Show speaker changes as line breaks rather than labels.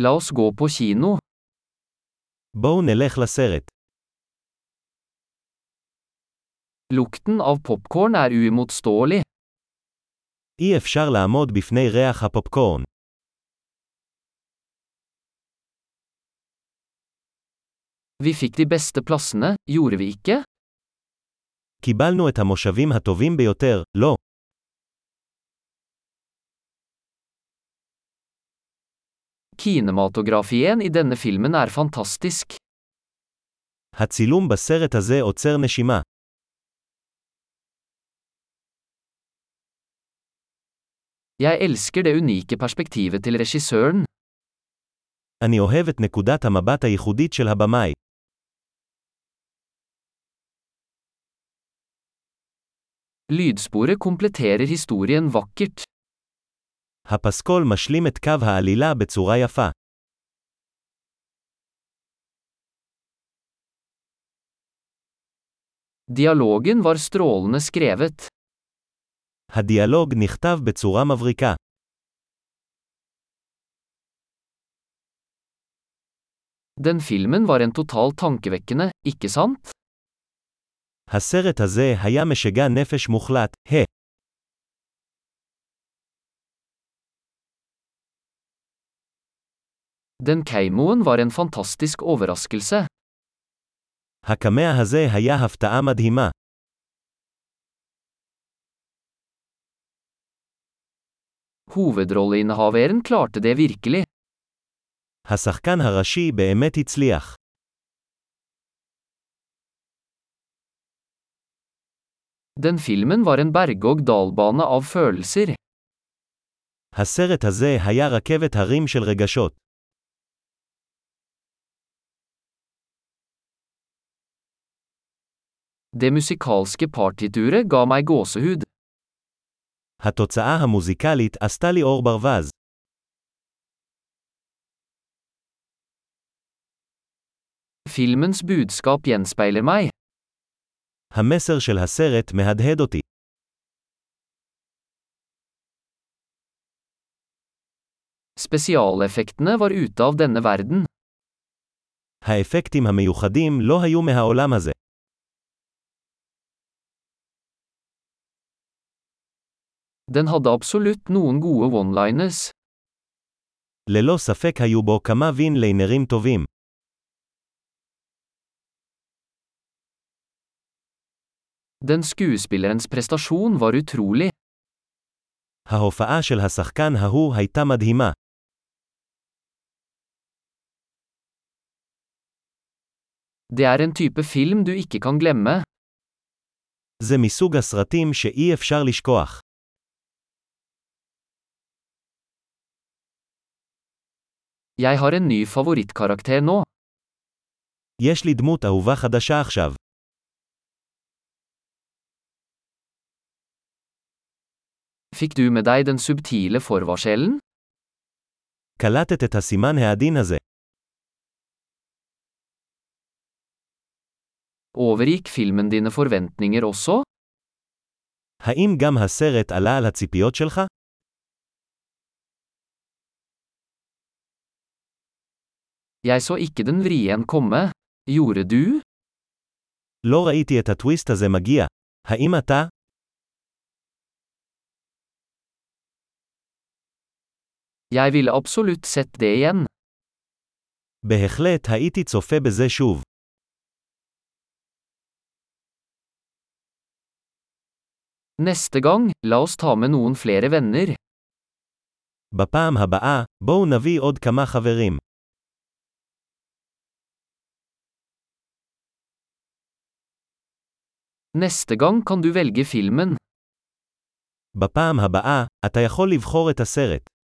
La oss gå på kino.
בואו נלך לסרט.
Lukten av popkorn er uimotståelig.
אי אפשר לעמוד בפני ריח הפופקורן.
Vi fikk de beste plassene, gjorde vi ikke?
קיבלנו את המושבים הטובים ביותר, לא.
Kinematografien i denne filmen er fantastisk.
הצילום בסרט הזה עוצר נשימה.
Jeg elsker det unike perspektivet til regissøren.
אני אוהב את נקודת המבט הייחודית של הבמאי.
Lydsporet kompletterer historien vakkert.
הפסקול משלים את קו העלילה בצורה יפה.
Dialogen var strålende skrevet.
הדיאלוג נכתב בצורה מבריקה.
Den filmen var en totalt tankevekkende, ikke sant?
הסרט הזה היה משגע נפש מוחלט, הה.
Den keimoen var en fantastisk overraskelse.
הקמע הזה היה הפתעה מדהימה.
Hovedrolleinnehaveren klarte det virkelig.
השחקן הראשי באמת הצליח.
Den filmen var en berg-og-dal-bane av følelser.
הסרט הזה היה רכבת הרים של רגשות.
Det musikalske partituret ga meg gåsehud.
התוצאה המוזיקלית עשתה לי אור ברווז.
Filmens budskap gjenspeiler meg.
המסר של הסרט מהדהד אותי.
Spesialeffektene var ute av denne verden.
האפקטים המיוחדים לא היו מהעולם הזה.
Den hadde absolutt noen gode one-liners.
ללא ספק היו בו כמה וין ליינרים טובים.
Den skuespillerens prestasjon var utrolig.
ההופעה של השחקן ההוא הייתה מדהימה.
Det er en type film du ikke kan glemme.
זה מסוג הסרטים שאי אפשר לשכוח.
Jeg har en ny favorittkarakter nå.
יש לי דמות אהובה חדשה עכשיו.
Fikk du med deg den subtile forvarselen?
קלטת את הסימן העדין הזה.
Overgikk filmen dine forventninger også?
האם גם הסרט עלה על הציפיות שלך?
Jeg så ikke den vrien komme. Gjorde du?
לא ראיתי את הטוויסט הזה מגיע. האם אתה?
Jeg ville absolutt sett det igjen.
בהחלט הייתי צופה בזה שוב.
Neste gang, la oss ta med noen flere venner.
בפעם הבאה, בואו נביא עוד כמה חברים.
Neste gang kan du velge filmen.
בפעם הבאה, אתה יכול לבחור את הסרט.